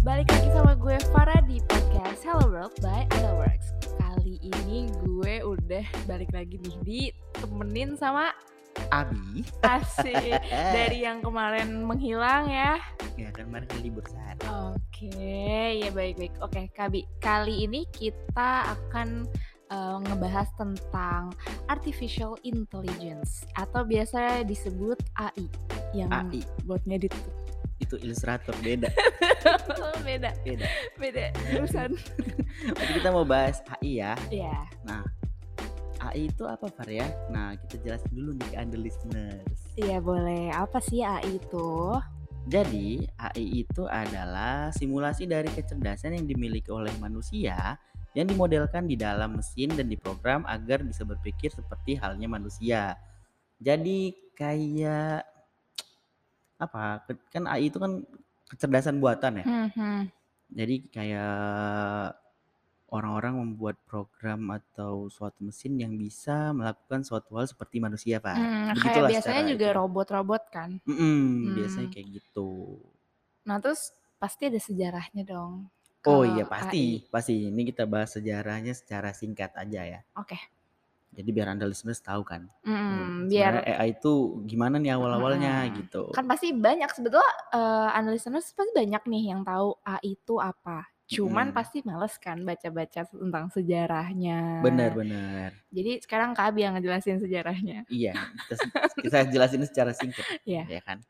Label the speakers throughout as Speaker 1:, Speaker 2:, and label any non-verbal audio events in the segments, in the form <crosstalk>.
Speaker 1: balik lagi sama gue Farah di podcast Hello World by Works. Kali ini gue udah balik lagi nih ditemenin sama
Speaker 2: Abi
Speaker 1: Asih <laughs> dari yang kemarin menghilang ya.
Speaker 2: Eh, ya kan kemarin kan libur
Speaker 1: Hmm.
Speaker 2: sehari
Speaker 1: Oke, ya baik-baik. Oke, Kabi. Kali ini kita akan eh, ngebahas tentang artificial intelligence atau biasa disebut AI yang
Speaker 2: AI
Speaker 1: buat <laughs> ngedit tuh.
Speaker 2: itu ilustrator beda
Speaker 1: beda,
Speaker 2: Beda.
Speaker 1: beda jurusan.
Speaker 2: Jadi kita mau bahas AI ya
Speaker 1: ya,
Speaker 2: AI itu apa Far ya nah kita jelasin dulu nih ke under listeners
Speaker 1: iya boleh. Apa sih AI itu?
Speaker 2: jadi AI itu adalah simulasi dari kecerdasan yang dimiliki oleh manusia yang dimodelkan di dalam mesin dan diprogram agar bisa berpikir seperti halnya manusia jadi kayak apa kan AI itu kan kecerdasan buatan ya
Speaker 1: Hmm,
Speaker 2: Jadi kayak orang-orang membuat program atau suatu mesin yang bisa melakukan suatu hal seperti manusia, Pak.
Speaker 1: Hmm, kayak
Speaker 2: Nah, Begitulah gitu.
Speaker 1: biasanya
Speaker 2: secara
Speaker 1: juga
Speaker 2: itu.
Speaker 1: robot-robot kan.
Speaker 2: Mm-mm,
Speaker 1: Hmm.
Speaker 2: biasanya kayak gitu.
Speaker 1: Nah terus pasti ada sejarahnya dong. Kalau
Speaker 2: Oh iya
Speaker 1: AI.
Speaker 2: pasti, pasti. Ini kita bahas sejarahnya secara singkat aja ya.
Speaker 1: Oke.
Speaker 2: Jadi biar anda listeners tahu kan.
Speaker 1: Mm, biar
Speaker 2: Sebenarnya AI itu gimana nih awal-awalnya
Speaker 1: Mm-mm.
Speaker 2: gitu.
Speaker 1: kan pasti banyak sebetulnya eh listeners pasti banyak nih yang tahu AI itu apa. Cuman
Speaker 2: Mm.
Speaker 1: pasti males kan baca-baca tentang sejarahnya.
Speaker 2: Benar-benar.
Speaker 1: Jadi sekarang Kak Abi yang ngejelasin sejarahnya. <laughs>
Speaker 2: Iya, kita, kita jelasin secara singkat,
Speaker 1: Iya.
Speaker 2: ya kan?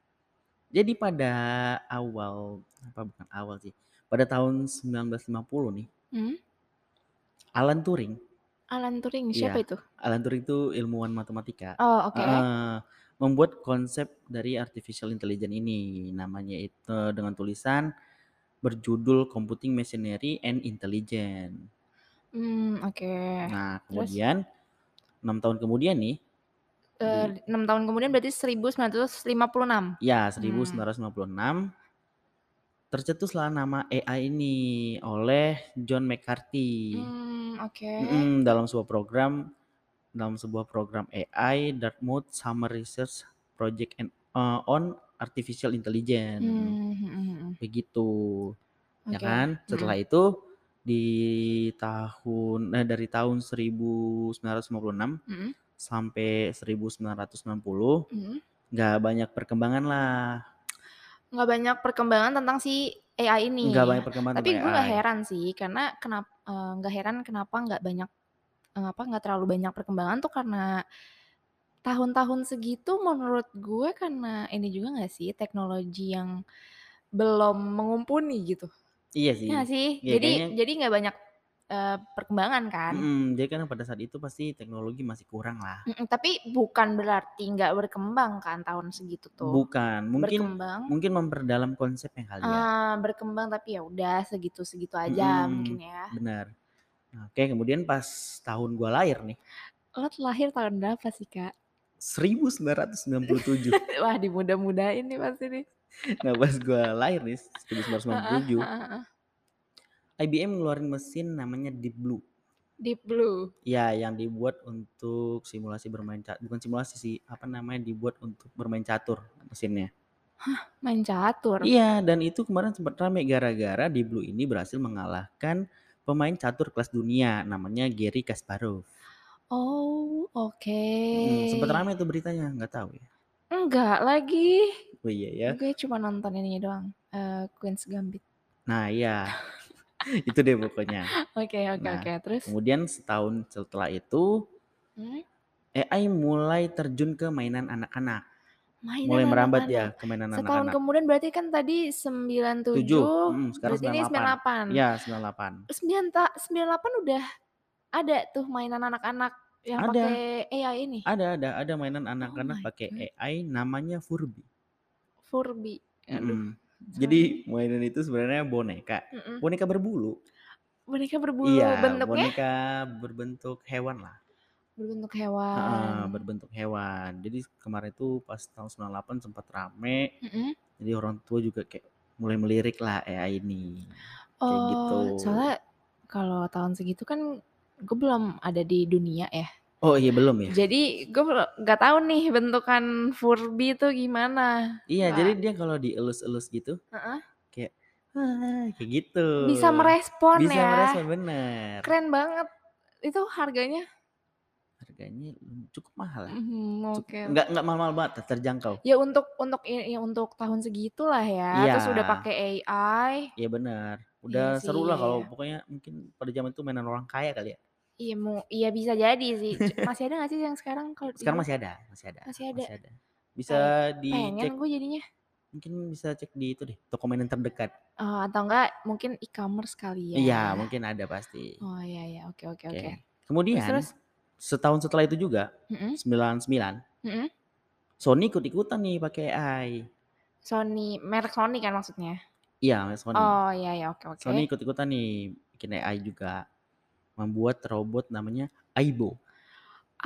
Speaker 2: Jadi pada awal apa bukan awal sih? Pada tahun 1950 nih,
Speaker 1: Hmm?
Speaker 2: Alan Turing,
Speaker 1: Alan Turing siapa
Speaker 2: Iya.
Speaker 1: itu?
Speaker 2: Alan Turing itu ilmuwan matematika,
Speaker 1: Oh oke.
Speaker 2: eh, membuat konsep dari artificial intelligence ini, namanya itu dengan tulisan berjudul Computing Machinery and Intelligence.
Speaker 1: Hmm, oke.
Speaker 2: Nah,
Speaker 1: terus?
Speaker 2: kemudian enam tahun kemudian nih,
Speaker 1: Eh, enam tahun kemudian berarti 1956.
Speaker 2: Ya,
Speaker 1: Hmm.
Speaker 2: 1996 tercetuslah nama AI ini oleh John McCarthy.
Speaker 1: Hmm, oke.
Speaker 2: Iya. Mm-mm, dalam sebuah program dalam sebuah program AI Dartmouth Summer Research Project and, uh, on Artificial Intelligence.
Speaker 1: Hmm, hmm, hmm, hmm.
Speaker 2: Begitu, ya
Speaker 1: Oke. Hmm.
Speaker 2: kan? Setelah itu di tahun eh, dari tahun 1956
Speaker 1: Mm,
Speaker 2: sampai 1990
Speaker 1: mm, mm.
Speaker 2: nggak banyak perkembangan lah
Speaker 1: nggak banyak perkembangan tentang si AI ini.
Speaker 2: nggak banyak perkembangan
Speaker 1: Iya. Tapi
Speaker 2: tentang
Speaker 1: gue nggak
Speaker 2: AI.
Speaker 1: heran sih, karena kenapa nggak heran kenapa nggak banyak eh, apa nggak terlalu banyak perkembangan tuh karena tahun-tahun segitu menurut gue karena ini juga nggak sih teknologi yang belum mengumpuni gitu.
Speaker 2: Iya sih.
Speaker 1: Iya nggak sih.
Speaker 2: Iya,
Speaker 1: jadi
Speaker 2: kayaknya-
Speaker 1: jadi nggak banyak eh, perkembangan kan.
Speaker 2: Mm-mm, jadi kan pada saat itu pasti teknologi masih kurang lah.
Speaker 1: Mm-mm, tapi bukan berarti nggak berkembang kan tahun segitu tuh.
Speaker 2: Bukan, mungkin
Speaker 1: berkembang.
Speaker 2: mungkin memperdalam konsepnya kali ya.
Speaker 1: Ah, berkembang tapi ya udah segitu-segitu aja
Speaker 2: Mm-mm.
Speaker 1: mungkin ya.
Speaker 2: Benar. Nah, Oke, kemudian pas tahun gua lahir nih,
Speaker 1: Lo lahir tahun berapa sih kak? <laughs>
Speaker 2: 1997.
Speaker 1: Wah dimuda-mudain nih pasti nih.
Speaker 2: nah, pas gua lahir nih 1997, IBM ngeluarin mesin namanya Deep Blue.
Speaker 1: Deep Blue.
Speaker 2: Ya, yang dibuat untuk simulasi bermain catur. Bukan simulasi sih, apa namanya dibuat untuk bermain catur mesinnya.
Speaker 1: Main catur.
Speaker 2: Iya, dan itu kemarin sempat rame gara-gara di Blue ini berhasil mengalahkan pemain catur kelas dunia namanya Gary Kasparov.
Speaker 1: Oh oke.
Speaker 2: Hmm, sempat rame tuh beritanya, nggak tahu ya.
Speaker 1: Enggak lagi.
Speaker 2: Oh iya ya.
Speaker 1: Gue cuma nonton ininya doang. Eh, Queen's Gambit.
Speaker 2: Nah, iya. <laughs> itu deh pokoknya.
Speaker 1: Oke oke
Speaker 2: Nah,
Speaker 1: oke. Terus.
Speaker 2: Kemudian setahun setelah itu
Speaker 1: Hmm?
Speaker 2: AI mulai terjun ke mainan anak-anak.
Speaker 1: Mainan
Speaker 2: Mulai merambat ya
Speaker 1: anak-anak.
Speaker 2: ke mainan
Speaker 1: Setahun
Speaker 2: anak-anak.
Speaker 1: kemudian berarti kan tadi 97.
Speaker 2: Tujuh. Mm, sekarang
Speaker 1: berarti ini 98.
Speaker 2: Iya, 98.
Speaker 1: 9 ta 98 udah ada tuh mainan anak-anak yang
Speaker 2: Ada.
Speaker 1: pakai AI ini.
Speaker 2: Ada ada ada mainan
Speaker 1: Oh my
Speaker 2: anak-anak
Speaker 1: God.
Speaker 2: pakai AI namanya Furby.
Speaker 1: Furby. Aduh. Hmm.
Speaker 2: Mm. Jadi mainan itu sebenarnya boneka.
Speaker 1: Mm-mm.
Speaker 2: Boneka berbulu.
Speaker 1: Boneka berbulu bentuknya
Speaker 2: Iya, boneka berbentuk hewan lah.
Speaker 1: berbentuk
Speaker 2: Heeh,
Speaker 1: hewan.
Speaker 2: berbentuk hewan. Jadi kemarin itu pas tahun 98 sempat rame.
Speaker 1: Mm-mm.
Speaker 2: Jadi orang tua juga kayak mulai melirik lah AI ini. Kayak
Speaker 1: Oh,
Speaker 2: gitu.
Speaker 1: soalnya kalau tahun segitu kan gue belum ada di dunia ya.
Speaker 2: Oh iya belum ya?
Speaker 1: Jadi gue nggak tahu nih bentukan Furby itu gimana.
Speaker 2: Iya,
Speaker 1: Wah.
Speaker 2: jadi dia kalau dielus-elus gitu
Speaker 1: Heeh.
Speaker 2: kayak "Wah," kayak gitu.
Speaker 1: Bisa merespon
Speaker 2: Bisa
Speaker 1: ya.
Speaker 2: merespon Iya. bener.
Speaker 1: Keren banget. Itu harganya
Speaker 2: Harganya cukup mahal. ya.
Speaker 1: Mhm,
Speaker 2: Cuk-
Speaker 1: oke.
Speaker 2: Nggak nggak mahal-mahal banget, ter- terjangkau.
Speaker 1: Ya untuk untuk i- ya untuk tahun segitulah ya.
Speaker 2: Iya.
Speaker 1: Terus udah pakai AI.
Speaker 2: Iya benar. Udah seru lah
Speaker 1: sih.
Speaker 2: kalau pokoknya mungkin pada zaman itu mainan orang kaya kali ya.
Speaker 1: Iya mau iya bisa jadi sih.
Speaker 2: <laughs>
Speaker 1: C- Masih ada gak sih yang sekarang kalau
Speaker 2: Sekarang
Speaker 1: dibilang?
Speaker 2: masih ada, masih ada.
Speaker 1: Iya. Masih ada.
Speaker 2: Bisa dicek
Speaker 1: pengen gue jadinya.
Speaker 2: mungkin bisa cek di itu deh, toko mainan terdekat.
Speaker 1: Eh, atau enggak mungkin e-commerce kali ya.
Speaker 2: Iya, mungkin ada pasti.
Speaker 1: Oh iya iya oke oke
Speaker 2: Oke.
Speaker 1: oke.
Speaker 2: Kemudian
Speaker 1: Terus, Hmm? terus?
Speaker 2: setahun setelah itu juga
Speaker 1: Mm-mm,
Speaker 2: 99
Speaker 1: mm-mm.
Speaker 2: Sony ikut-ikutan nih pakai AI.
Speaker 1: Sony merek Sony kan maksudnya.
Speaker 2: Iya, Sony.
Speaker 1: Oh iya iya oke oke.
Speaker 2: Sony ikut-ikutan nih bikin AI juga. Membuat robot namanya Aibo.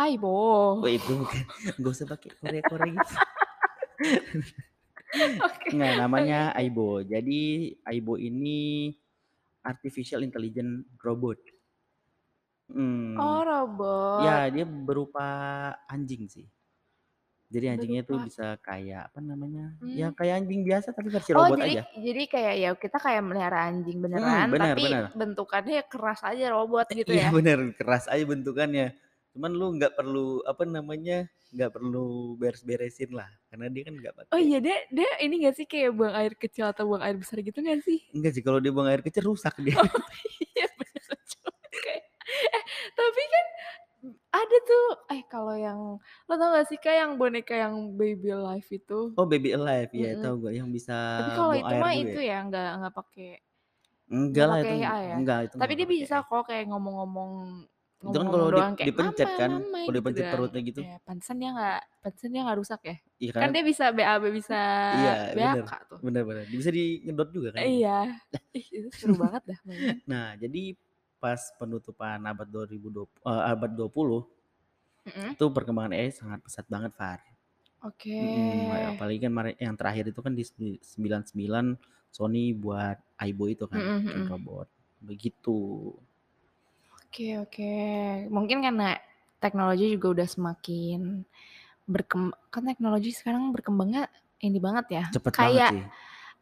Speaker 1: Aibo.
Speaker 2: Oh, itu bukan. <laughs> Gak usah pakai Korea-Korea gitu.
Speaker 1: <laughs> Oke.
Speaker 2: Enggak, namanya Aibo. Jadi Aibo ini artificial intelligent robot. Hmm.
Speaker 1: Oh robot.
Speaker 2: Ya, dia berupa anjing sih. Jadi anjingnya tuh
Speaker 1: Berupa-
Speaker 2: bisa kayak apa namanya? Ya
Speaker 1: Hmm.
Speaker 2: kayak anjing biasa tapi versi
Speaker 1: Oh
Speaker 2: robot
Speaker 1: jadi
Speaker 2: aja. Hmm,
Speaker 1: jadi kayak ya kita kayak melihara anjing beneran,
Speaker 2: benar,
Speaker 1: tapi
Speaker 2: benar.
Speaker 1: bentukannya keras aja robot gitu ya.
Speaker 2: Iya bener, keras aja bentukannya. Cuman lu nggak perlu apa namanya? nggak perlu beres-beresin lah karena dia kan nggak
Speaker 1: Oh
Speaker 2: pakai.
Speaker 1: iya dia dia ini gak sih kayak buang air kecil atau buang air besar gitu gak sih?
Speaker 2: Enggak sih kalau dia buang air kecil rusak dia.
Speaker 1: <laughs> Iya bener juga. Eh, tapi kan ada tuh eh kalau yang lo tau gak sih kayak yang boneka yang baby life itu?
Speaker 2: Oh, baby alive ya,
Speaker 1: Mm-mm.
Speaker 2: tahu gua yang bisa
Speaker 1: Tapi kalau
Speaker 2: buang
Speaker 1: itu
Speaker 2: air
Speaker 1: mah
Speaker 2: dulu
Speaker 1: itu
Speaker 2: ya.
Speaker 1: ya nggak nggak pakai.
Speaker 2: Enggak lah
Speaker 1: pakai
Speaker 2: itu
Speaker 1: AI ya?
Speaker 2: enggak itu
Speaker 1: Tapi
Speaker 2: nggak
Speaker 1: dia
Speaker 2: pakai
Speaker 1: bisa kok kayak ngomong-ngomong
Speaker 2: Itu kan
Speaker 1: ngomong-ngomong
Speaker 2: kalau di-
Speaker 1: doang kayak
Speaker 2: dipencet
Speaker 1: mama
Speaker 2: kan,
Speaker 1: mama
Speaker 2: kalau
Speaker 1: gitu
Speaker 2: dipencet
Speaker 1: doang.
Speaker 2: perutnya gitu.
Speaker 1: Ya, pantesan dia nggak pantesan dia nggak rusak ya.
Speaker 2: Iya
Speaker 1: Kan
Speaker 2: kan?
Speaker 1: dia bisa BAB bisa
Speaker 2: Iya, benar.
Speaker 1: BAK tuh.
Speaker 2: Benar benar. Bisa di ngedot juga kan. dia.
Speaker 1: Iya. <laughs> Ih, itu seru banget dah bayangin.
Speaker 2: Nah, jadi pas penutupan abad 2020 eh, abad 20
Speaker 1: Mm-mm.
Speaker 2: itu perkembangan AI sangat pesat banget, Far.
Speaker 1: Hmm? Oke.
Speaker 2: Mm-mm, apalagi kan mare- yang terakhir itu kan di sembi- 99 Sony buat Aibo itu kan,
Speaker 1: Mm-mm,
Speaker 2: bikin
Speaker 1: mm-mm.
Speaker 2: robot. Begitu.
Speaker 1: Oke, oke. Mungkin karena teknologi juga udah semakin berkembang kan teknologi sekarang berkembangnya ini banget ya.
Speaker 2: Cepet banget
Speaker 1: Kayak
Speaker 2: sih.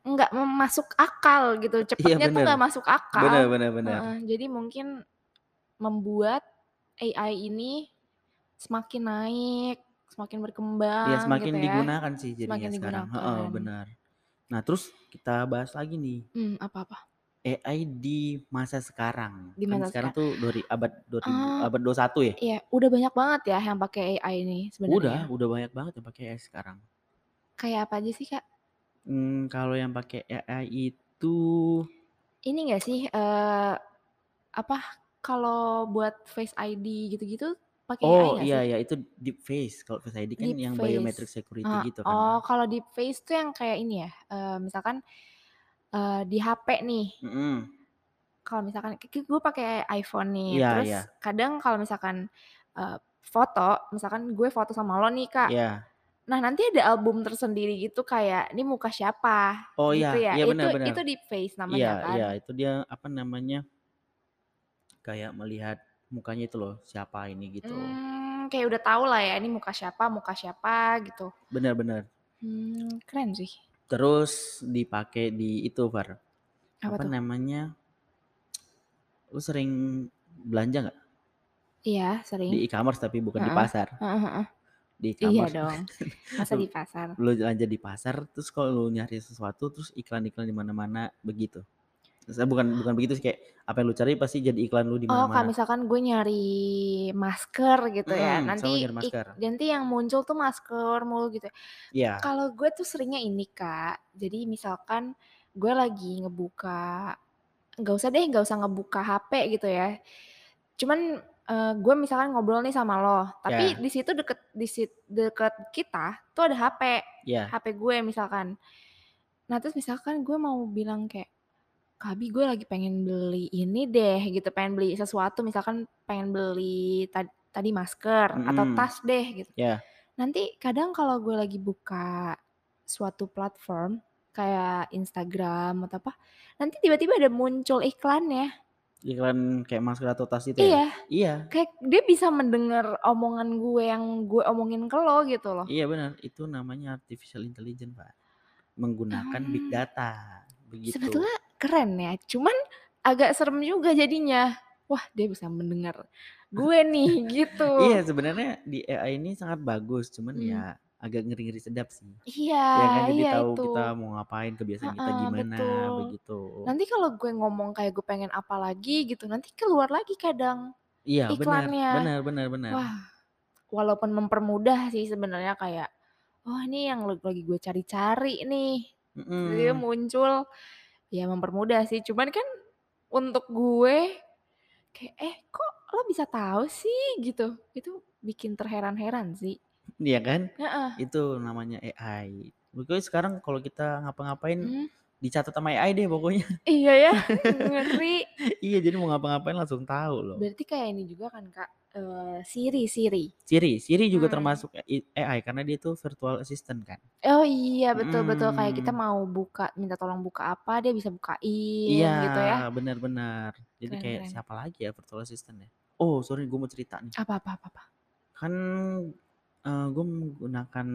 Speaker 1: nggak masuk akal gitu. Cepetnya tuh
Speaker 2: Iya, bener.
Speaker 1: nggak masuk akal.
Speaker 2: Benar benar benar.
Speaker 1: Heeh, jadi mungkin membuat AI ini semakin naik, semakin berkembang
Speaker 2: Ya semakin
Speaker 1: gitu ya.
Speaker 2: digunakan sih jadinya
Speaker 1: Semakin
Speaker 2: sekarang. Heeh,
Speaker 1: digunakan.
Speaker 2: benar. Nah, terus kita bahas lagi nih
Speaker 1: Hmm, apa-apa.
Speaker 2: AI di masa sekarang.
Speaker 1: Di
Speaker 2: kan
Speaker 1: masa
Speaker 2: sekarang tuh dari abad 2000,
Speaker 1: Ah.
Speaker 2: abad 21 ya?
Speaker 1: Iya, udah banyak banget ya yang pakai AI ini
Speaker 2: Udah,
Speaker 1: sebenarnya.
Speaker 2: udah banyak banget yang pakai AI sekarang.
Speaker 1: Kayak apa aja sih, Kak?
Speaker 2: Hmm, kalau yang pakai AI itu
Speaker 1: Ini nggak sih eh apa kalau buat Face ID gitu-gitu pakai AI
Speaker 2: Oh
Speaker 1: nggak
Speaker 2: iya
Speaker 1: sih?
Speaker 2: ya itu deep face. Kalau Face ID kan yang
Speaker 1: Deepface.
Speaker 2: biometric security
Speaker 1: Ah,
Speaker 2: gitu kan.
Speaker 1: oh, kalau deep face tuh yang kayak ini ya. eh, misalkan eh, di HP nih,
Speaker 2: Mm-mm.
Speaker 1: kalau misalkan gitu, gue pakai iPhone nih,
Speaker 2: Iya,
Speaker 1: terus
Speaker 2: iya.
Speaker 1: kadang kalau misalkan eh, foto, misalkan gue foto sama lo nih kak,
Speaker 2: Iya.
Speaker 1: nah nanti ada album tersendiri gitu kayak ini muka siapa,
Speaker 2: Oh iya,
Speaker 1: gitu ya,
Speaker 2: iya
Speaker 1: itu
Speaker 2: benar benar.
Speaker 1: itu deep face
Speaker 2: Iya,
Speaker 1: namanya kan,
Speaker 2: iya itu dia apa namanya? Kayak melihat mukanya itu loh, siapa ini gitu.
Speaker 1: Hmm, kayak udah tau lah ya ini muka siapa, muka siapa gitu,
Speaker 2: Benar-benar.
Speaker 1: hmm, keren sih,
Speaker 2: Terus dipakai di itu, Far.
Speaker 1: apa
Speaker 2: Apa
Speaker 1: tuh?
Speaker 2: namanya? Lu sering belanja nggak
Speaker 1: Iya sering,
Speaker 2: di e-commerce tapi bukan di
Speaker 1: Heeh.
Speaker 2: pasar?
Speaker 1: Heeh, heeh.
Speaker 2: Di
Speaker 1: iya
Speaker 2: e-commerce <laughs>
Speaker 1: dong, masa di pasar.
Speaker 2: lu belanja di pasar terus kalau lu nyari sesuatu terus iklan-iklan di mana-mana begitu. Saya bukan bukan begitu sih kayak apa yang lu cari pasti jadi iklan lu
Speaker 1: Oh,
Speaker 2: di
Speaker 1: kalau
Speaker 2: mana-mana.
Speaker 1: misalkan gue nyari masker gitu ya,
Speaker 2: Mm, sama
Speaker 1: nanti
Speaker 2: nyari
Speaker 1: ik-
Speaker 2: masker.
Speaker 1: nanti yang muncul tuh masker mulu gitu.
Speaker 2: Iya.
Speaker 1: Kalau gue tuh seringnya ini kak, jadi misalkan gue lagi ngebuka, nggak usah deh, nggak usah ngebuka HP gitu ya. Cuman eh, gue misalkan ngobrol nih sama lo, tapi
Speaker 2: Ya.
Speaker 1: di situ deket di sit- deket kita tuh ada HP,
Speaker 2: Iya.
Speaker 1: HP gue misalkan. Nah terus misalkan gue mau bilang kayak Kabi gue lagi pengen beli ini deh gitu pengen beli sesuatu misalkan pengen beli ta- tadi masker atau
Speaker 2: Mm-mm.
Speaker 1: tas deh gitu
Speaker 2: Ya.
Speaker 1: nanti kadang kalau gue lagi buka suatu platform kayak Instagram atau apa nanti tiba-tiba ada muncul iklannya
Speaker 2: Iklan kayak masker atau tas itu ya?
Speaker 1: iya
Speaker 2: Iya.
Speaker 1: kayak dia bisa mendengar omongan gue yang gue omongin ke lo gitu loh
Speaker 2: Iya benar, itu namanya artificial intelligence, Pak. Menggunakan big
Speaker 1: Hmm,
Speaker 2: data. Begitu.
Speaker 1: sebetulnya keren ya. Cuman agak serem juga jadinya. Wah, dia bisa mendengar
Speaker 2: <laughs>
Speaker 1: gue nih gitu.
Speaker 2: Iya, sebenarnya di AI ini sangat bagus, cuman
Speaker 1: Hmm.
Speaker 2: ya agak ngeri-ngeri sedap sih.
Speaker 1: Iya,
Speaker 2: Ya kan jadi
Speaker 1: iya
Speaker 2: tahu
Speaker 1: itu.
Speaker 2: kita mau ngapain, kebiasaan kita
Speaker 1: Heeh,
Speaker 2: gimana
Speaker 1: betul.
Speaker 2: begitu.
Speaker 1: Nanti kalau gue ngomong kayak gue pengen apa lagi gitu, nanti keluar lagi kadang
Speaker 2: Iya, benar,
Speaker 1: iklannya.
Speaker 2: benar, benar, benar.
Speaker 1: Wah, walaupun mempermudah sih sebenarnya kayak oh ini yang lo- lagi gue cari-cari nih. Terus dia
Speaker 2: Mm-mm.
Speaker 1: muncul ya mempermudah sih. Cuman kan untuk gue kayak eh kok lo bisa tahu sih gitu. Itu bikin terheran-heran sih.
Speaker 2: Iya kan?
Speaker 1: Heeh.
Speaker 2: Itu namanya AI. Pokoknya sekarang kalau kita ngapa-ngapain
Speaker 1: Hmm,
Speaker 2: dicatat sama AI deh pokoknya. <laughs>
Speaker 1: Iya ya, ngeri.
Speaker 2: iya, jadi mau ngapa-ngapain langsung tahu loh.
Speaker 1: Berarti kayak ini juga kan Kak, eh Siri, Siri.
Speaker 2: Siri, Siri juga
Speaker 1: Hmm.
Speaker 2: termasuk AI karena dia tuh virtual assistant kan.
Speaker 1: Oh iya betul-betul kayak kita
Speaker 2: Mm.
Speaker 1: mau buka, minta tolong buka apa, dia bisa bukain
Speaker 2: Iya,
Speaker 1: gitu ya.
Speaker 2: benar-benar. Jadi
Speaker 1: Keren,
Speaker 2: kayak
Speaker 1: keren.
Speaker 2: siapa lagi ya virtual assistant ya? Oh, sorry, gue mau cerita nih.
Speaker 1: Apa, apa, apa, apa.
Speaker 2: Kan gue menggunakan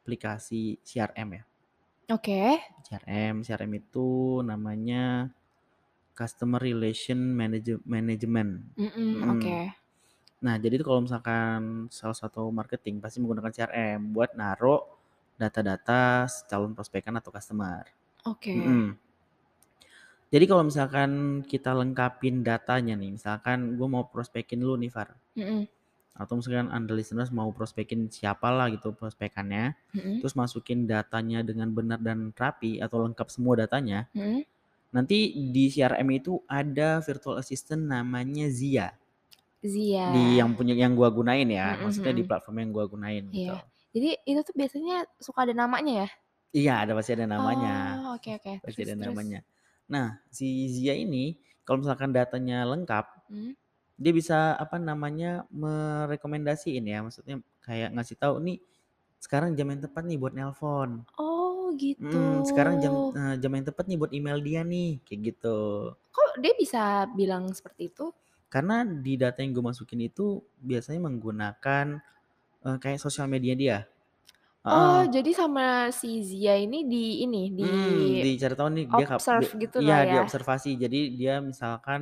Speaker 2: aplikasi CRM ya.
Speaker 1: Oke,
Speaker 2: CRM, CRM itu namanya Customer Relation Manage- Management.
Speaker 1: Mm-mm,
Speaker 2: Mm.
Speaker 1: Hmm, oke.
Speaker 2: Nah, jadi itu kalau misalkan salah satu marketing pasti menggunakan CRM buat naruh data-data calon prospekan atau customer.
Speaker 1: Oke,
Speaker 2: Mm-mm. Jadi kalau misalkan kita lengkapin datanya nih, misalkan gue mau prospekin lu nih Far,
Speaker 1: Mm-mm,
Speaker 2: atau misalkan anda listeners mau prospekin siapa lah gitu prospekannya,
Speaker 1: mm-mm,
Speaker 2: terus masukin datanya dengan benar dan rapi atau lengkap semua datanya,
Speaker 1: mm-mm.
Speaker 2: nanti di CRM itu ada virtual assistant namanya Zia, di
Speaker 1: Zia.
Speaker 2: yang punya yang gua gunain ya,
Speaker 1: Mm-mm,
Speaker 2: maksudnya di
Speaker 1: mm-mm.
Speaker 2: platform yang gua gunain gitu.
Speaker 1: Hmm, Iya. Jadi itu tuh biasanya suka ada namanya ya?
Speaker 2: Iya, ada pasti ada namanya.
Speaker 1: Oh, oke oke.
Speaker 2: Pasti
Speaker 1: Terus
Speaker 2: ada
Speaker 1: terus.
Speaker 2: namanya. Nah, si Zia ini kalau misalkan datanya lengkap,
Speaker 1: Mm.
Speaker 2: dia bisa apa namanya merekomendasiin ya, maksudnya kayak ngasih tahu nih sekarang jam yang tepat nih buat nelpon.
Speaker 1: Oh, gitu.
Speaker 2: Mm, sekarang jam eh, jam yang tepat nih buat email dia nih, kayak gitu.
Speaker 1: Kok dia bisa bilang seperti itu?
Speaker 2: Karena di data yang gue masukin itu biasanya menggunakan eh, kayak sosial media dia.
Speaker 1: Oh,
Speaker 2: Heeh.
Speaker 1: jadi sama si Zia ini di ini di
Speaker 2: Mm, dicari tahu nih dia kap
Speaker 1: observe
Speaker 2: dia,
Speaker 1: gitu
Speaker 2: iya
Speaker 1: lah
Speaker 2: dia
Speaker 1: ya.
Speaker 2: observasi. Jadi dia misalkan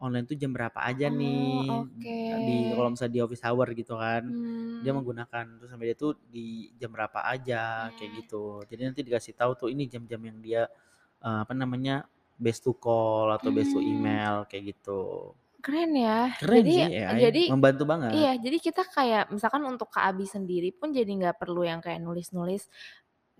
Speaker 2: online tuh jam berapa
Speaker 1: Oh,
Speaker 2: aja nih
Speaker 1: oke.
Speaker 2: di kalau misalnya di office hour gitu kan. Dia
Speaker 1: Hmm,
Speaker 2: menggunakan terus sampai dia tuh di jam berapa aja kayak
Speaker 1: hmm.
Speaker 2: gitu. Jadi nanti dikasih tahu tuh ini jam-jam yang dia eh, apa namanya best to call atau best
Speaker 1: Hmm,
Speaker 2: to email kayak gitu.
Speaker 1: keren ya.
Speaker 2: Keren
Speaker 1: Jadi
Speaker 2: sih AI,
Speaker 1: jadi
Speaker 2: membantu banget.
Speaker 1: iya, jadi kita kayak misalkan untuk Kak Abi sendiri pun jadi nggak perlu yang kayak nulis-nulis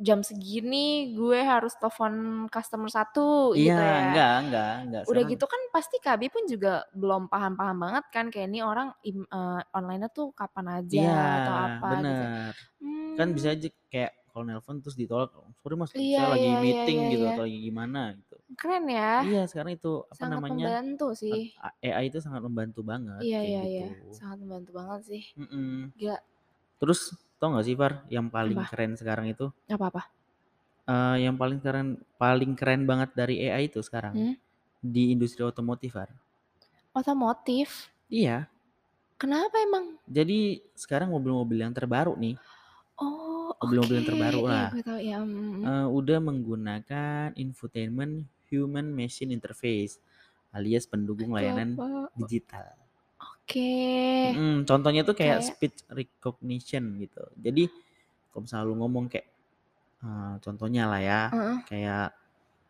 Speaker 1: jam segini gue harus telepon customer satu
Speaker 2: Iya,
Speaker 1: gitu ya.
Speaker 2: enggak, enggak, enggak
Speaker 1: Udah
Speaker 2: sekarang.
Speaker 1: gitu kan pasti Kak Abi pun juga belum paham-paham banget kan kayak ini orang im- eh, online-nya tuh kapan
Speaker 2: Iya,
Speaker 1: aja atau apa gitu.
Speaker 2: bener. Kan bisa
Speaker 1: Hmm,
Speaker 2: aja kayak kalau nelpon terus ditolak, "Oh, sorry mas,
Speaker 1: iya
Speaker 2: saya lagi
Speaker 1: iya iya
Speaker 2: meeting
Speaker 1: iya
Speaker 2: gitu
Speaker 1: iya.
Speaker 2: atau lagi gimana gitu.
Speaker 1: Keren ya.
Speaker 2: Iya, sekarang itu apa
Speaker 1: Sangat
Speaker 2: namanya
Speaker 1: membantu sih.
Speaker 2: a- AI itu sangat membantu banget
Speaker 1: Iya
Speaker 2: kayak
Speaker 1: iya iya.
Speaker 2: gitu.
Speaker 1: Sangat membantu banget sih.
Speaker 2: Mm-mm.
Speaker 1: Gila.
Speaker 2: Terus tau gak sih Far, yang paling
Speaker 1: Apa?
Speaker 2: keren sekarang itu,
Speaker 1: Apa-apa?
Speaker 2: Eh, yang paling keren, paling keren banget dari AI itu sekarang
Speaker 1: Hmm?
Speaker 2: di industri otomotif Far.
Speaker 1: Otomotif?
Speaker 2: Iya,
Speaker 1: Kenapa emang?
Speaker 2: jadi sekarang mobil-mobil yang terbaru nih,
Speaker 1: Oh, oke.
Speaker 2: mobil-mobil yang terbaru
Speaker 1: Iya,
Speaker 2: lah.
Speaker 1: gue tahu ya. Mm,
Speaker 2: eh, udah menggunakan infotainment human machine interface alias pendukung
Speaker 1: Itu
Speaker 2: layanan
Speaker 1: apa?
Speaker 2: digital.
Speaker 1: Oke.
Speaker 2: Mm, contohnya tuh
Speaker 1: Eh,
Speaker 2: kayak
Speaker 1: Kayak
Speaker 2: speech recognition gitu. Jadi kalau misalnya lu ngomong kayak eh, contohnya lah ya,
Speaker 1: Heeh.
Speaker 2: kayak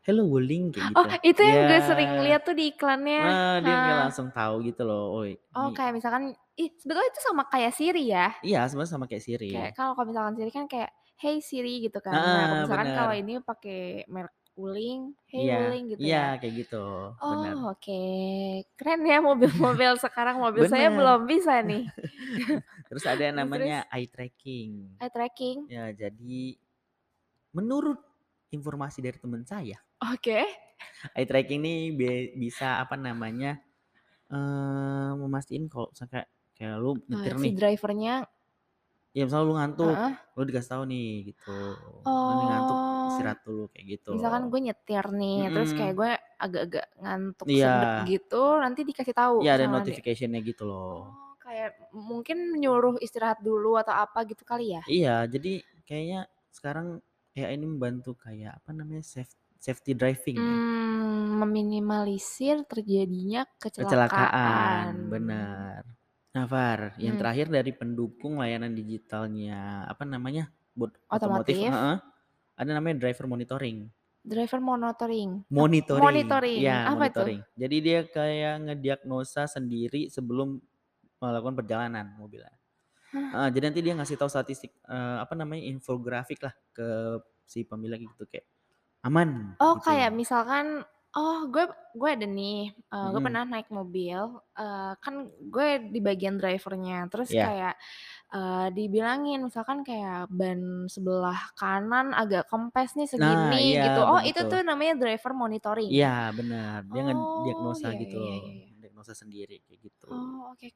Speaker 2: hello Wuling kayak
Speaker 1: Oh,
Speaker 2: gitu.
Speaker 1: itu yang
Speaker 2: Ya,
Speaker 1: gue sering lihat tuh di iklannya.
Speaker 2: nah dia kayak
Speaker 1: Hah.
Speaker 2: langsung tahu gitu loh. Oh,
Speaker 1: Iya, Oh,
Speaker 2: ini
Speaker 1: kayak misalkan ih, sebetulnya itu sama kayak Siri ya.
Speaker 2: iya sebenarnya sama kayak Siri.
Speaker 1: Kayak kalau kalau misalkan Siri kan kayak hey Siri gitu kan. Nah, kalau
Speaker 2: Nah,
Speaker 1: misalkan kalau
Speaker 2: bener.
Speaker 1: ini pakai merek Wuling, hey
Speaker 2: Iya,
Speaker 1: Wuling gitu
Speaker 2: iya
Speaker 1: ya.
Speaker 2: kayak gitu. Bener.
Speaker 1: Oh, oke. Keren ya mobil-mobil sekarang. Mobil saya
Speaker 2: Bener.
Speaker 1: belum bisa nih.
Speaker 2: Terus ada yang
Speaker 1: Terus terus
Speaker 2: namanya eye tracking.
Speaker 1: eye tracking.
Speaker 2: Ya, jadi menurut informasi dari teman saya,
Speaker 1: Oke.
Speaker 2: eye tracking ini bi- bisa apa namanya eh memastikan kalau misalkan kayak lu
Speaker 1: Eh,
Speaker 2: nyetir
Speaker 1: si
Speaker 2: nih,
Speaker 1: drivernya
Speaker 2: ya misalnya lu ngantuk,
Speaker 1: heeh.
Speaker 2: lu dikasih tahu nih gitu, lu nih ngantuk
Speaker 1: Oh.
Speaker 2: istirahat dulu kayak gitu.
Speaker 1: Misalkan gue nyetir nih, terus kayak
Speaker 2: Mm-mm.
Speaker 1: gue agak-agak ngantuk
Speaker 2: Iya,
Speaker 1: sedep gitu, nanti dikasih tahu
Speaker 2: iya ada
Speaker 1: sama dia.
Speaker 2: notificationnya gitu loh.
Speaker 1: Oh, kayak mungkin nyuruh istirahat dulu atau apa gitu kali ya.
Speaker 2: Iya, jadi kayaknya sekarang ya ini membantu kayak apa namanya save safety driving ya?
Speaker 1: Hmm, meminimalisir terjadinya kecelakaan.
Speaker 2: Kecelakaan, benar. Nah, Far, yang
Speaker 1: Hmm.
Speaker 2: terakhir dari pendukung layanan digitalnya apa namanya? Buat otomotif,
Speaker 1: Otomotif.
Speaker 2: heeh. Ada namanya driver monitoring.
Speaker 1: Driver monitoring.
Speaker 2: Monitoring.
Speaker 1: monitoring. Apa
Speaker 2: Ya,
Speaker 1: itu?
Speaker 2: monitoring. Jadi dia kayak ngediagnosa sendiri sebelum melakukan perjalanan mobilnya. Heeh, jadi nanti dia ngasih tahu statistik eh, apa namanya? infografik lah ke si pemilik gitu kayak aman
Speaker 1: Oh,
Speaker 2: gitu.
Speaker 1: kayak misalkan oh, gue gue ada nih, eh, gue
Speaker 2: Mm-mm.
Speaker 1: pernah naik mobil, eh, kan gue di bagian drivernya. Terus
Speaker 2: Ya.
Speaker 1: kayak eh, dibilangin misalkan kayak ban sebelah kanan agak kempes nih
Speaker 2: Nah,
Speaker 1: segini
Speaker 2: iya
Speaker 1: gitu. Oh, itu
Speaker 2: begitu.
Speaker 1: tuh namanya driver monitoring.
Speaker 2: Iya benar, dia
Speaker 1: Oh, iya
Speaker 2: ngediagnosa
Speaker 1: iya
Speaker 2: gitu
Speaker 1: iya
Speaker 2: loh,
Speaker 1: iya. iya.
Speaker 2: diagnosa sendiri kayak gitu.
Speaker 1: Oh, oke.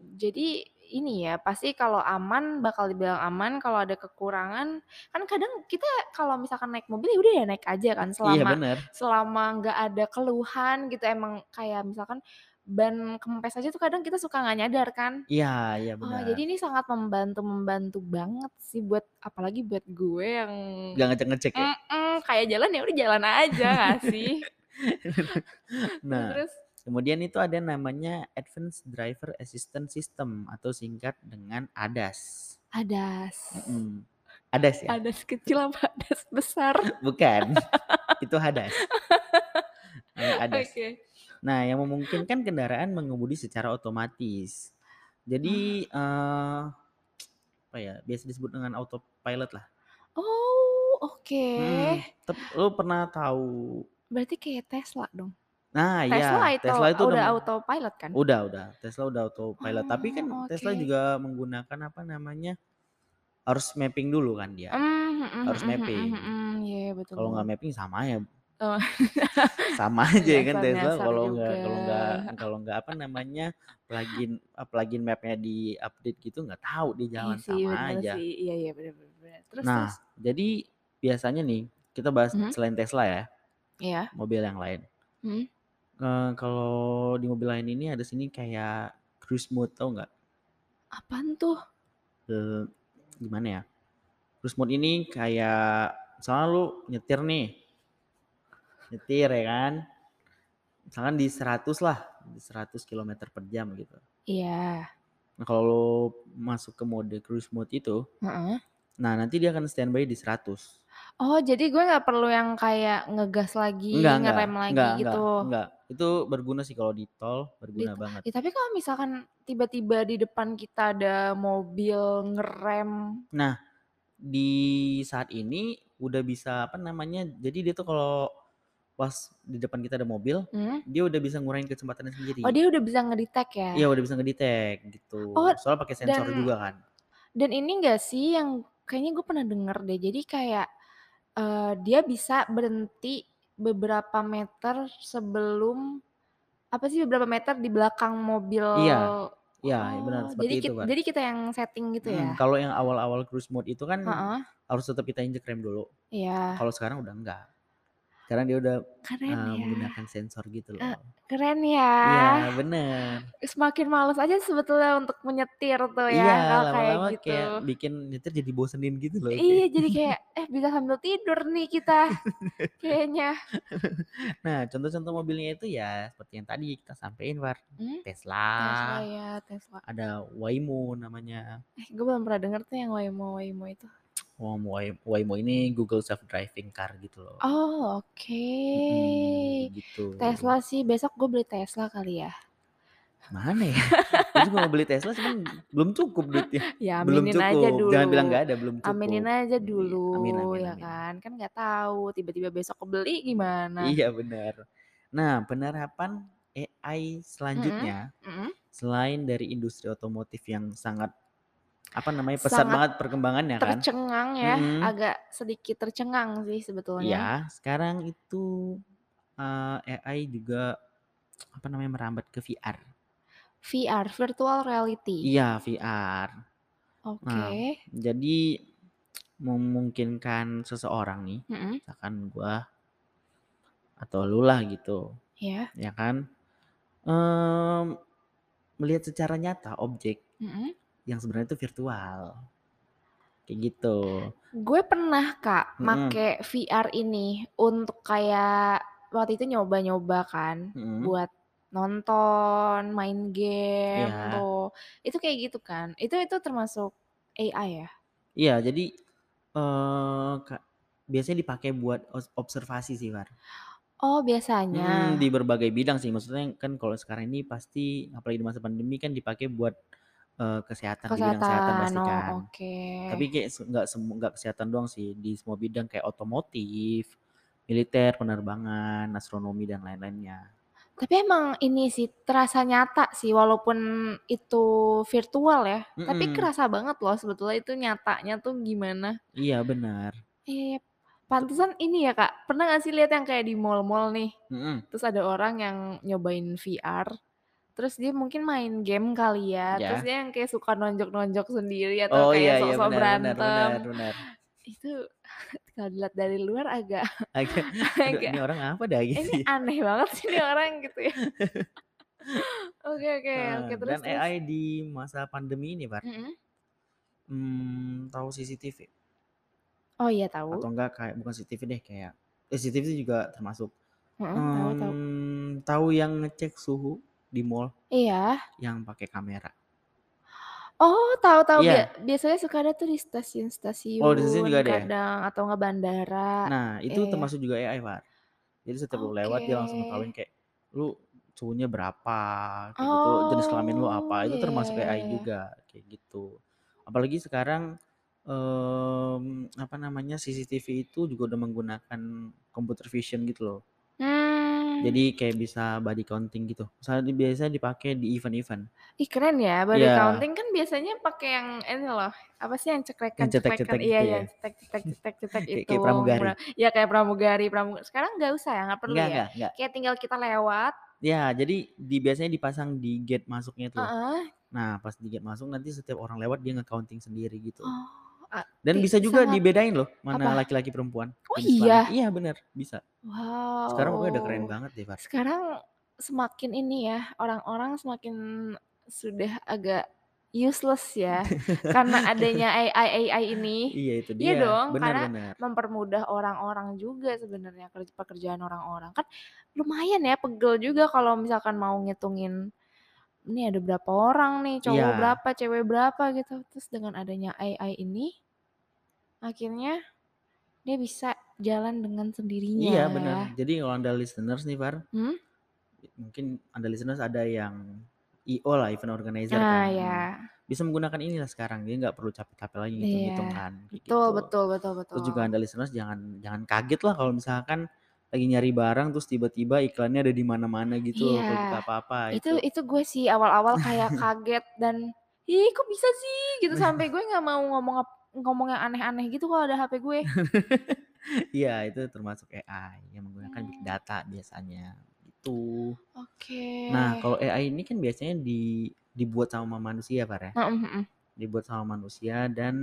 Speaker 1: Jadi ini ya pasti kalau aman bakal dibilang aman kalau ada kekurangan kan kadang kita kalau misalkan naik mobil ya udah ya naik aja kan
Speaker 2: Iya
Speaker 1: selama
Speaker 2: benar,
Speaker 1: selama nggak ada keluhan gitu emang kayak misalkan ban kempes aja tuh kadang kita suka nggak nyadar kan
Speaker 2: iya
Speaker 1: oh
Speaker 2: iya benar.
Speaker 1: jadi ini sangat membantu membantu banget sih buat apalagi buat gue yang
Speaker 2: Gak ngecek ngecek ya.
Speaker 1: "Mm-mm, kayak jalan ya udah jalan aja nggak sih Hmm, terus
Speaker 2: nah,
Speaker 1: terus
Speaker 2: kemudian itu ada namanya Advanced Driver Assistance System atau singkat dengan ADAS.
Speaker 1: adas
Speaker 2: Mm-mm. ADAS ya,
Speaker 1: adas kecil apa adas besar
Speaker 2: <laughs>
Speaker 1: <laughs>
Speaker 2: bukan? itu hadas. Namanya
Speaker 1: oke
Speaker 2: ADAS. Nah, yang memungkinkan kendaraan mengemudi secara otomatis. Jadi
Speaker 1: Hmm.
Speaker 2: eh apa ya? Biasa disebut dengan autopilot lah.
Speaker 1: Oh, oke.
Speaker 2: Hmm, tep- lo pernah tahu?
Speaker 1: Berarti kayak Tesla dong.
Speaker 2: Nah,
Speaker 1: Tesla
Speaker 2: ya
Speaker 1: itu
Speaker 2: Tesla itu
Speaker 1: udah
Speaker 2: udah Oh,
Speaker 1: autopilot kan?
Speaker 2: udah udah Tesla udah autopilot. Tapi kan
Speaker 1: Oh, oke.
Speaker 2: Tesla juga menggunakan apa namanya harus mapping dulu kan dia.
Speaker 1: Hmm, hmm, hmm,
Speaker 2: Harus
Speaker 1: hmm, hmm,
Speaker 2: mapping.
Speaker 1: hmm, hmm, Iya, betul.
Speaker 2: Kalau nggak mapping sama ya
Speaker 1: Oh,
Speaker 2: <laughs> sama aja ya kan Tesla
Speaker 1: nyasar-nyasar
Speaker 2: kalau nggak
Speaker 1: juga.
Speaker 2: kalau nggak kalau nggak apa namanya plugin ah, plugin mapnya di update gitu nggak tahu di
Speaker 1: Iya
Speaker 2: jalan
Speaker 1: sih,
Speaker 2: sama
Speaker 1: benar
Speaker 2: aja.
Speaker 1: sih. Iya, iya, benar benar. benar. Terus terus.
Speaker 2: Nah, jadi biasanya nih kita bahas
Speaker 1: Mhm.
Speaker 2: selain Tesla ya
Speaker 1: Iya.
Speaker 2: mobil yang lain.
Speaker 1: Mhm.
Speaker 2: Eh, kalau di mobil lain ini ada sini kayak cruise mode tau nggak?
Speaker 1: Apaan tuh?
Speaker 2: Eh, gimana ya? Cruise mode ini kayak misalnya lu nyetir nih, nyetir ya kan? Misalkan di 100 lah, di 100 km per jam gitu.
Speaker 1: Iya.
Speaker 2: Nah, kalau lu masuk ke mode cruise mode itu,
Speaker 1: Heeh.
Speaker 2: nah nanti dia akan standby di 100.
Speaker 1: Oh, jadi gue nggak perlu yang kayak ngegas lagi,
Speaker 2: Enggak, enggak,
Speaker 1: ngerem lagi
Speaker 2: enggak,
Speaker 1: gitu.
Speaker 2: enggak, enggak. Itu berguna sih kalau di tol, berguna
Speaker 1: Di-
Speaker 2: banget.
Speaker 1: ya, tapi kalau misalkan tiba-tiba di depan kita ada mobil ngerem,
Speaker 2: Nah, di saat ini udah bisa apa namanya? Jadi dia tuh kalau pas di depan kita ada mobil,
Speaker 1: hmm?
Speaker 2: dia udah bisa ngurangin kecepatannya
Speaker 1: Oh
Speaker 2: sendiri.
Speaker 1: dia udah bisa ngedetect ya.
Speaker 2: Iya udah bisa ngedetect gitu.
Speaker 1: Oh
Speaker 2: Soalnya pakai sensor
Speaker 1: dan
Speaker 2: juga kan.
Speaker 1: dan ini enggak sih yang kayaknya gue pernah denger deh. Jadi kayak eh, dia bisa berhenti beberapa meter sebelum apa sih beberapa meter di belakang mobil.
Speaker 2: Iya, iya
Speaker 1: Oh
Speaker 2: benar seperti
Speaker 1: jadi
Speaker 2: itu
Speaker 1: kita,
Speaker 2: kan.
Speaker 1: jadi kita yang setting gitu ya.
Speaker 2: kalau yang awal-awal cruise mode itu kan
Speaker 1: Heeh.
Speaker 2: harus tetap kita injek rem dulu.
Speaker 1: Iya.
Speaker 2: Kalau sekarang udah enggak. Sekarang dia udah
Speaker 1: Keren ya.
Speaker 2: eh, menggunakan sensor gitu
Speaker 1: Eh,
Speaker 2: loh.
Speaker 1: Keren ya.
Speaker 2: Iya bener.
Speaker 1: Semakin males aja sebetulnya untuk menyetir tuh
Speaker 2: Iya
Speaker 1: ya kalau kayak
Speaker 2: lama-lama
Speaker 1: gitu.
Speaker 2: kayak bikin nyetir jadi bosenin gitu loh kayak.
Speaker 1: Iya jadi kayak eh bisa sambil tidur nih
Speaker 2: <laughs>
Speaker 1: kita kayaknya.
Speaker 2: Nah contoh-contoh mobilnya itu ya seperti yang tadi kita sampein War.
Speaker 1: Hmm?
Speaker 2: Tesla,
Speaker 1: Tesla ya, Tesla.
Speaker 2: ada Waymo namanya.
Speaker 1: Eh, gue belum pernah denger tuh yang Waymo Waymo itu.
Speaker 2: Wam- Way- Waymo ini Google Self Driving Car gitu loh.
Speaker 1: Oh, oke.
Speaker 2: Mm, gitu.
Speaker 1: Tesla sih besok gue beli Tesla kali ya.
Speaker 2: Mana
Speaker 1: <laughs>
Speaker 2: ya? Gue juga mau beli Tesla cuman belum cukup duitnya.
Speaker 1: Ya
Speaker 2: Belum
Speaker 1: <laughs> aminin aja
Speaker 2: cukup. Jangan bilang
Speaker 1: dulu.
Speaker 2: nggak ada, belum
Speaker 1: Aminin
Speaker 2: cukup.
Speaker 1: aja
Speaker 2: Iya, Amin
Speaker 1: dulu
Speaker 2: amin
Speaker 1: ya
Speaker 2: amin.
Speaker 1: kan. Kan nggak tahu tiba-tiba besok kebeli gimana.
Speaker 2: Iya benar. Nah, penerapan AI
Speaker 1: Mm-mm,
Speaker 2: selanjutnya
Speaker 1: mm-mm.
Speaker 2: selain dari industri otomotif yang sangat apa namanya pesat
Speaker 1: Sangat
Speaker 2: banget perkembangannya kan?
Speaker 1: tercengang ya,
Speaker 2: Mm-mm.
Speaker 1: agak sedikit tercengang sih sebetulnya.
Speaker 2: Iya, sekarang itu eh, AI juga apa namanya merambat ke VR.
Speaker 1: VR, virtual reality.
Speaker 2: Iya, VR.
Speaker 1: Oke.
Speaker 2: Nah, jadi memungkinkan seseorang nih,
Speaker 1: Mm-mm,
Speaker 2: misalkan gua atau lu lah gitu,
Speaker 1: Ya.
Speaker 2: ya kan? Em, melihat secara nyata objek
Speaker 1: Mm-mm.
Speaker 2: yang sebenarnya itu virtual. Kayak gitu.
Speaker 1: Gue pernah Kak
Speaker 2: Mm-mm.
Speaker 1: make VR ini untuk kayak waktu itu nyoba-nyoba kan
Speaker 2: Mm-mm.
Speaker 1: buat nonton, main game
Speaker 2: Iya.
Speaker 1: tuh. Itu kayak gitu kan. Itu itu termasuk AI ya?
Speaker 2: Iya, jadi eh ka- biasanya dipakai buat os- observasi sih, War.
Speaker 1: Oh,
Speaker 2: Mm,
Speaker 1: biasanya.
Speaker 2: di berbagai bidang sih. Maksudnya kan kalau sekarang ini pasti apalagi di masa pandemi kan dipakai buat eh, kesehatan di bidang kesehatan
Speaker 1: Kesehatan.
Speaker 2: pasti
Speaker 1: Oh,
Speaker 2: kan.
Speaker 1: oke.
Speaker 2: Tapi kayak se- nggak semua nggak kesehatan doang sih di semua bidang kayak otomotif, militer, penerbangan, astronomi dan lain-lainnya.
Speaker 1: Tapi emang ini sih terasa nyata sih walaupun itu virtual ya. Tapi
Speaker 2: Mm-mm.
Speaker 1: kerasa banget loh sebetulnya itu nyatanya tuh gimana.
Speaker 2: Iya benar.
Speaker 1: Eh, pantesan ini ya kak, pernah gak sih lihat yang kayak di mall-mall nih?
Speaker 2: Mm-mm.
Speaker 1: Terus ada orang yang nyobain VR, terus dia mungkin main game kali ya, terus
Speaker 2: Ya.
Speaker 1: dia yang kayak suka nonjok-nonjok sendiri atau
Speaker 2: Oh
Speaker 1: kayak
Speaker 2: iya iya
Speaker 1: sok-sok
Speaker 2: benar benar benar
Speaker 1: berantem. <laughs>
Speaker 2: benar.
Speaker 1: Itu kalau dilihat dari luar agak <laughs>
Speaker 2: Agak, aduh ini
Speaker 1: agak "Eh,
Speaker 2: orang apa dah
Speaker 1: ini
Speaker 2: gitu ya.
Speaker 1: aneh banget sih ini orang gitu
Speaker 2: <laughs>
Speaker 1: ya. Oke oke oke
Speaker 2: Nah,
Speaker 1: terus
Speaker 2: dan
Speaker 1: terus.
Speaker 2: AI di masa pandemi ini, Pak.
Speaker 1: Mm-mm.
Speaker 2: Hmm, tahu CCTV
Speaker 1: Oh iya tahu.
Speaker 2: atau enggak kayak bukan CCTV deh kayak eh, CCTV juga termasuk.
Speaker 1: Mm-mm, Oh,
Speaker 2: Hmm.
Speaker 1: tahu tahu.
Speaker 2: Em, tahu yang ngecek suhu di mall
Speaker 1: Iya.
Speaker 2: yang pakai kamera.
Speaker 1: Oh, tahu-tahu Bia-
Speaker 2: Iya.
Speaker 1: biasanya suka ada tuh di
Speaker 2: Oh, di sini
Speaker 1: stasiun-stasiun
Speaker 2: juga ada ya.
Speaker 1: kadang atau nggak bandara.
Speaker 2: Nah, itu
Speaker 1: Iya ya.
Speaker 2: termasuk juga AI, Pak. Jadi setiap lu
Speaker 1: Oke.
Speaker 2: lewat dia langsung ngetahuin kayak lu suhunya berapa, kayak gitu, jenis kelamin lu
Speaker 1: Oh,
Speaker 2: apa,
Speaker 1: iya
Speaker 2: itu
Speaker 1: ya
Speaker 2: termasuk
Speaker 1: ya
Speaker 2: AI
Speaker 1: ya.
Speaker 2: juga, kayak gitu. Apalagi sekarang em, apa namanya CCTV itu juga udah menggunakan computer vision gitu loh.
Speaker 1: Hmm.
Speaker 2: Jadi kayak bisa body counting gitu. Misalnya di- biasanya dipakai di event-event.
Speaker 1: Ih keren ya, body
Speaker 2: Iya,
Speaker 1: counting kan biasanya pakai yang ini loh. Apa sih yang
Speaker 2: yang
Speaker 1: cekrekan-cekrekan?
Speaker 2: cetek-cetek
Speaker 1: Iya,
Speaker 2: gitu
Speaker 1: yang
Speaker 2: ya.
Speaker 1: cetek-cetek-cetek-cetek
Speaker 2: kayak
Speaker 1: itu.
Speaker 2: kayak pramugari.
Speaker 1: Bra- Ya kayak pramugari, pramugari. Sekarang nggak usah ya, nggak perlu
Speaker 2: Enggak,
Speaker 1: ya.
Speaker 2: enggak, enggak.
Speaker 1: Kayak tinggal kita lewat.
Speaker 2: Ya, jadi di biasanya dipasang di gate masuknya tuh.
Speaker 1: Heeh.
Speaker 2: Nah, pas di gate masuk nanti setiap orang lewat dia nge-counting sendiri gitu.
Speaker 1: Oh, ah,
Speaker 2: Dan
Speaker 1: ti-
Speaker 2: bisa juga
Speaker 1: sangat
Speaker 2: dibedain loh mana
Speaker 1: apa?
Speaker 2: laki-laki perempuan
Speaker 1: Oh
Speaker 2: jenis kelamin.
Speaker 1: iya. Oh.
Speaker 2: Iya bener bisa. Sekarang pokoknya udah keren
Speaker 1: Wow.
Speaker 2: banget deh, Far.
Speaker 1: Sekarang semakin ini ya, orang-orang semakin sudah agak useless ya karena adanya AI AI ini.
Speaker 2: <laughs> iya
Speaker 1: Iya
Speaker 2: itu dia,
Speaker 1: dong, karena
Speaker 2: benar-benar.
Speaker 1: mempermudah orang-orang juga sebenarnya kerja- pekerjaan orang-orang. Kan lumayan ya pegel juga kalau misalkan mau ngitungin ini ada berapa orang nih,
Speaker 2: Iya,
Speaker 1: cowok berapa, cewek berapa gitu. Terus dengan adanya AI ini akhirnya dia bisa jalan dengan sendirinya.
Speaker 2: iya bener. Jadi kalau anda listeners nih, Far,
Speaker 1: Hmm?
Speaker 2: mungkin anda listeners ada yang IO lah, event organizer
Speaker 1: Nah
Speaker 2: kan.
Speaker 1: ya,
Speaker 2: Nah, bisa menggunakan inilah sekarang. Jadi nggak perlu capek-capek lagi
Speaker 1: iya,
Speaker 2: ngitung-ngitung kan, kayak
Speaker 1: betul
Speaker 2: gitu.
Speaker 1: betul betul
Speaker 2: Terus
Speaker 1: betul.
Speaker 2: juga anda listeners jangan jangan kaget lah kalau misalkan lagi nyari barang terus tiba-tiba iklannya ada di mana-mana
Speaker 1: Iya,
Speaker 2: gitu loh kalau buka apa-apa
Speaker 1: itu
Speaker 2: itu.
Speaker 1: itu gue sih awal-awal
Speaker 2: <laughs>
Speaker 1: kayak kaget dan ih kok bisa sih gitu sampai gue nggak mau ngomong ap- ngomong yang aneh-aneh gitu kalau ada HP gue.
Speaker 2: Iya, itu termasuk AI yang menggunakan big
Speaker 1: Hmm,
Speaker 2: data biasanya. Gitu. Nah,
Speaker 1: Oke.
Speaker 2: kalau AI ini kan biasanya di dibuat sama manusia, Pak ya.
Speaker 1: Nah, mm, mm, mm.
Speaker 2: Dibuat sama manusia dan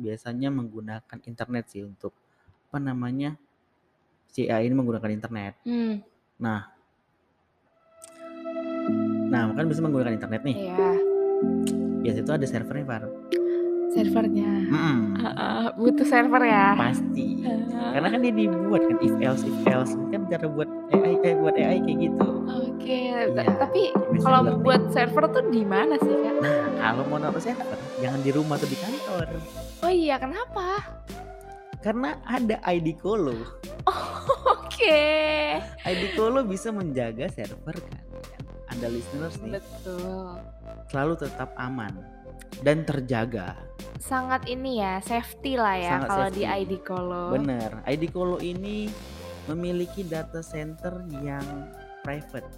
Speaker 2: biasanya menggunakan internet sih untuk apa namanya? Si AI ini menggunakan internet.
Speaker 1: Hmm,
Speaker 2: Nah, nah kan bisa menggunakan internet nih.
Speaker 1: Iya,
Speaker 2: Biasanya itu ada servernya, Pak.
Speaker 1: servernya.
Speaker 2: Mm-mm.
Speaker 1: Heeh, Eh, butuh server ya. <laughs>
Speaker 2: Pasti.
Speaker 1: Heeh,
Speaker 2: Karena kan dia dibuat kan if else if else kan cara buat AI eh, buat AI kayak gitu.
Speaker 1: Oke, ta-
Speaker 2: Iya,
Speaker 1: tapi
Speaker 2: kayak machine
Speaker 1: kalau mau
Speaker 2: learning.
Speaker 1: buat server tuh di mana sih kak?
Speaker 2: Nah, kalau mau naruh server, jangan di rumah atau di kantor.
Speaker 1: Oh iya, kenapa?
Speaker 2: Karena ada ID Colo.
Speaker 1: <laughs> Oke.
Speaker 2: ID Colo bisa menjaga server kan. Anda listeners nih,
Speaker 1: Betul.
Speaker 2: selalu tetap aman dan terjaga.
Speaker 1: Sangat ini ya, safety lah ya
Speaker 2: Sangat
Speaker 1: kalau di
Speaker 2: safety.
Speaker 1: ID Colo.
Speaker 2: Bener, ID Colo ini memiliki data center yang private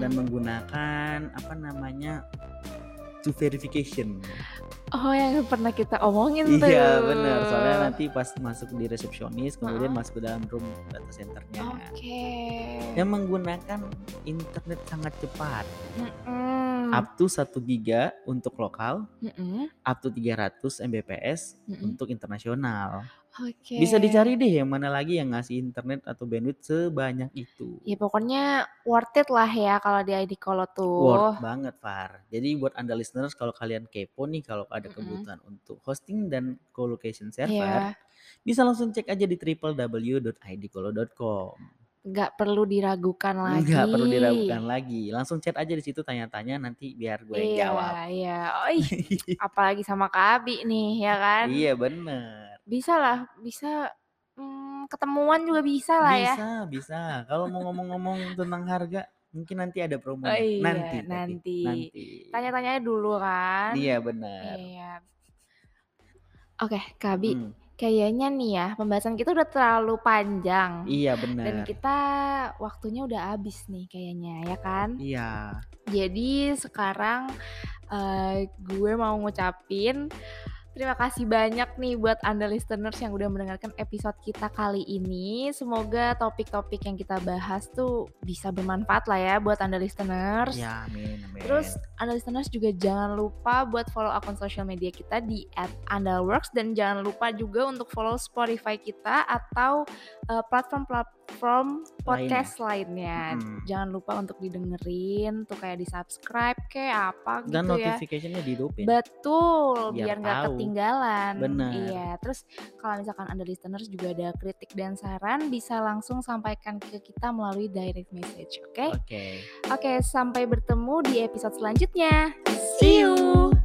Speaker 2: dan
Speaker 1: Hmm.
Speaker 2: menggunakan apa namanya two verification.
Speaker 1: Oh, yang pernah kita omongin
Speaker 2: Iya bener, soalnya
Speaker 1: tuh.
Speaker 2: nanti pas masuk di resepsionis kemudian
Speaker 1: Heeh. Oh.
Speaker 2: masuk ke dalam room data centernya.
Speaker 1: Oke.
Speaker 2: yang menggunakan internet sangat cepat
Speaker 1: Hmm, Mm-mm.
Speaker 2: up to 1 giga untuk lokal
Speaker 1: Mm-mm.
Speaker 2: up to 300 Mbps
Speaker 1: Mm-mm.
Speaker 2: untuk internasional
Speaker 1: Oke.
Speaker 2: Bisa dicari deh yang mana lagi yang ngasih internet atau bandwidth sebanyak itu.
Speaker 1: Ya pokoknya worth it lah ya kalau di ID Kolo tuh.
Speaker 2: Worth banget Far. Jadi buat anda listeners kalau kalian kepo nih kalau ada
Speaker 1: Mm-mm.
Speaker 2: kebutuhan untuk hosting dan co-location
Speaker 1: Iya.
Speaker 2: server, bisa langsung cek aja di www.idcolo.com.
Speaker 1: nggak perlu diragukan lagi.
Speaker 2: Enggak perlu diragukan lagi. Langsung chat aja di situ tanya-tanya nanti biar gue yang
Speaker 1: iya,
Speaker 2: jawab.
Speaker 1: Iya, Oh, ih,
Speaker 2: <laughs>
Speaker 1: apalagi sama Kabi nih ya kan.
Speaker 2: Iya bener.
Speaker 1: Bisa lah, bisa mm, ketemuan juga bisa lah ya.
Speaker 2: Bisa, bisa. Kalau mau ngomong-ngomong tentang harga, mungkin nanti ada promonya.
Speaker 1: Oh iya,
Speaker 2: nanti, tapi.
Speaker 1: nanti.
Speaker 2: nanti.
Speaker 1: Tanya-tanyanya dulu kan.
Speaker 2: Iya benar.
Speaker 1: Iya. Oke, Kabi,
Speaker 2: Hmm,
Speaker 1: kayaknya nih ya pembahasan kita udah terlalu panjang.
Speaker 2: iya benar.
Speaker 1: Dan kita waktunya udah habis nih kayaknya ya kan.
Speaker 2: Iya.
Speaker 1: Jadi sekarang eh, gue mau ngucapin terima kasih banyak nih buat anda listeners yang udah mendengarkan episode kita kali ini. Semoga topik-topik yang kita bahas tuh bisa bermanfaat lah ya buat anda listeners.
Speaker 2: Iya, amin, amin.
Speaker 1: Terus anda listeners juga jangan lupa buat follow akun sosial media kita di @andalworks dan jangan lupa juga untuk follow Spotify kita atau eh, platform-platform podcast lainnya.
Speaker 2: Mm-mm.
Speaker 1: Jangan lupa untuk didengerin tuh kayak di subscribe kayak apa
Speaker 2: dan
Speaker 1: gitu ya.
Speaker 2: notification-nya dihidupin.
Speaker 1: Betul,
Speaker 2: Biar
Speaker 1: biar nggak
Speaker 2: tahu.
Speaker 1: ketinggalan.
Speaker 2: Benar.
Speaker 1: Iya, terus kalau misalkan Anda listeners juga ada kritik dan saran bisa langsung sampaikan ke kita melalui direct message, oke?
Speaker 2: Oke.
Speaker 1: Oke, sampai bertemu di episode selanjutnya. See you.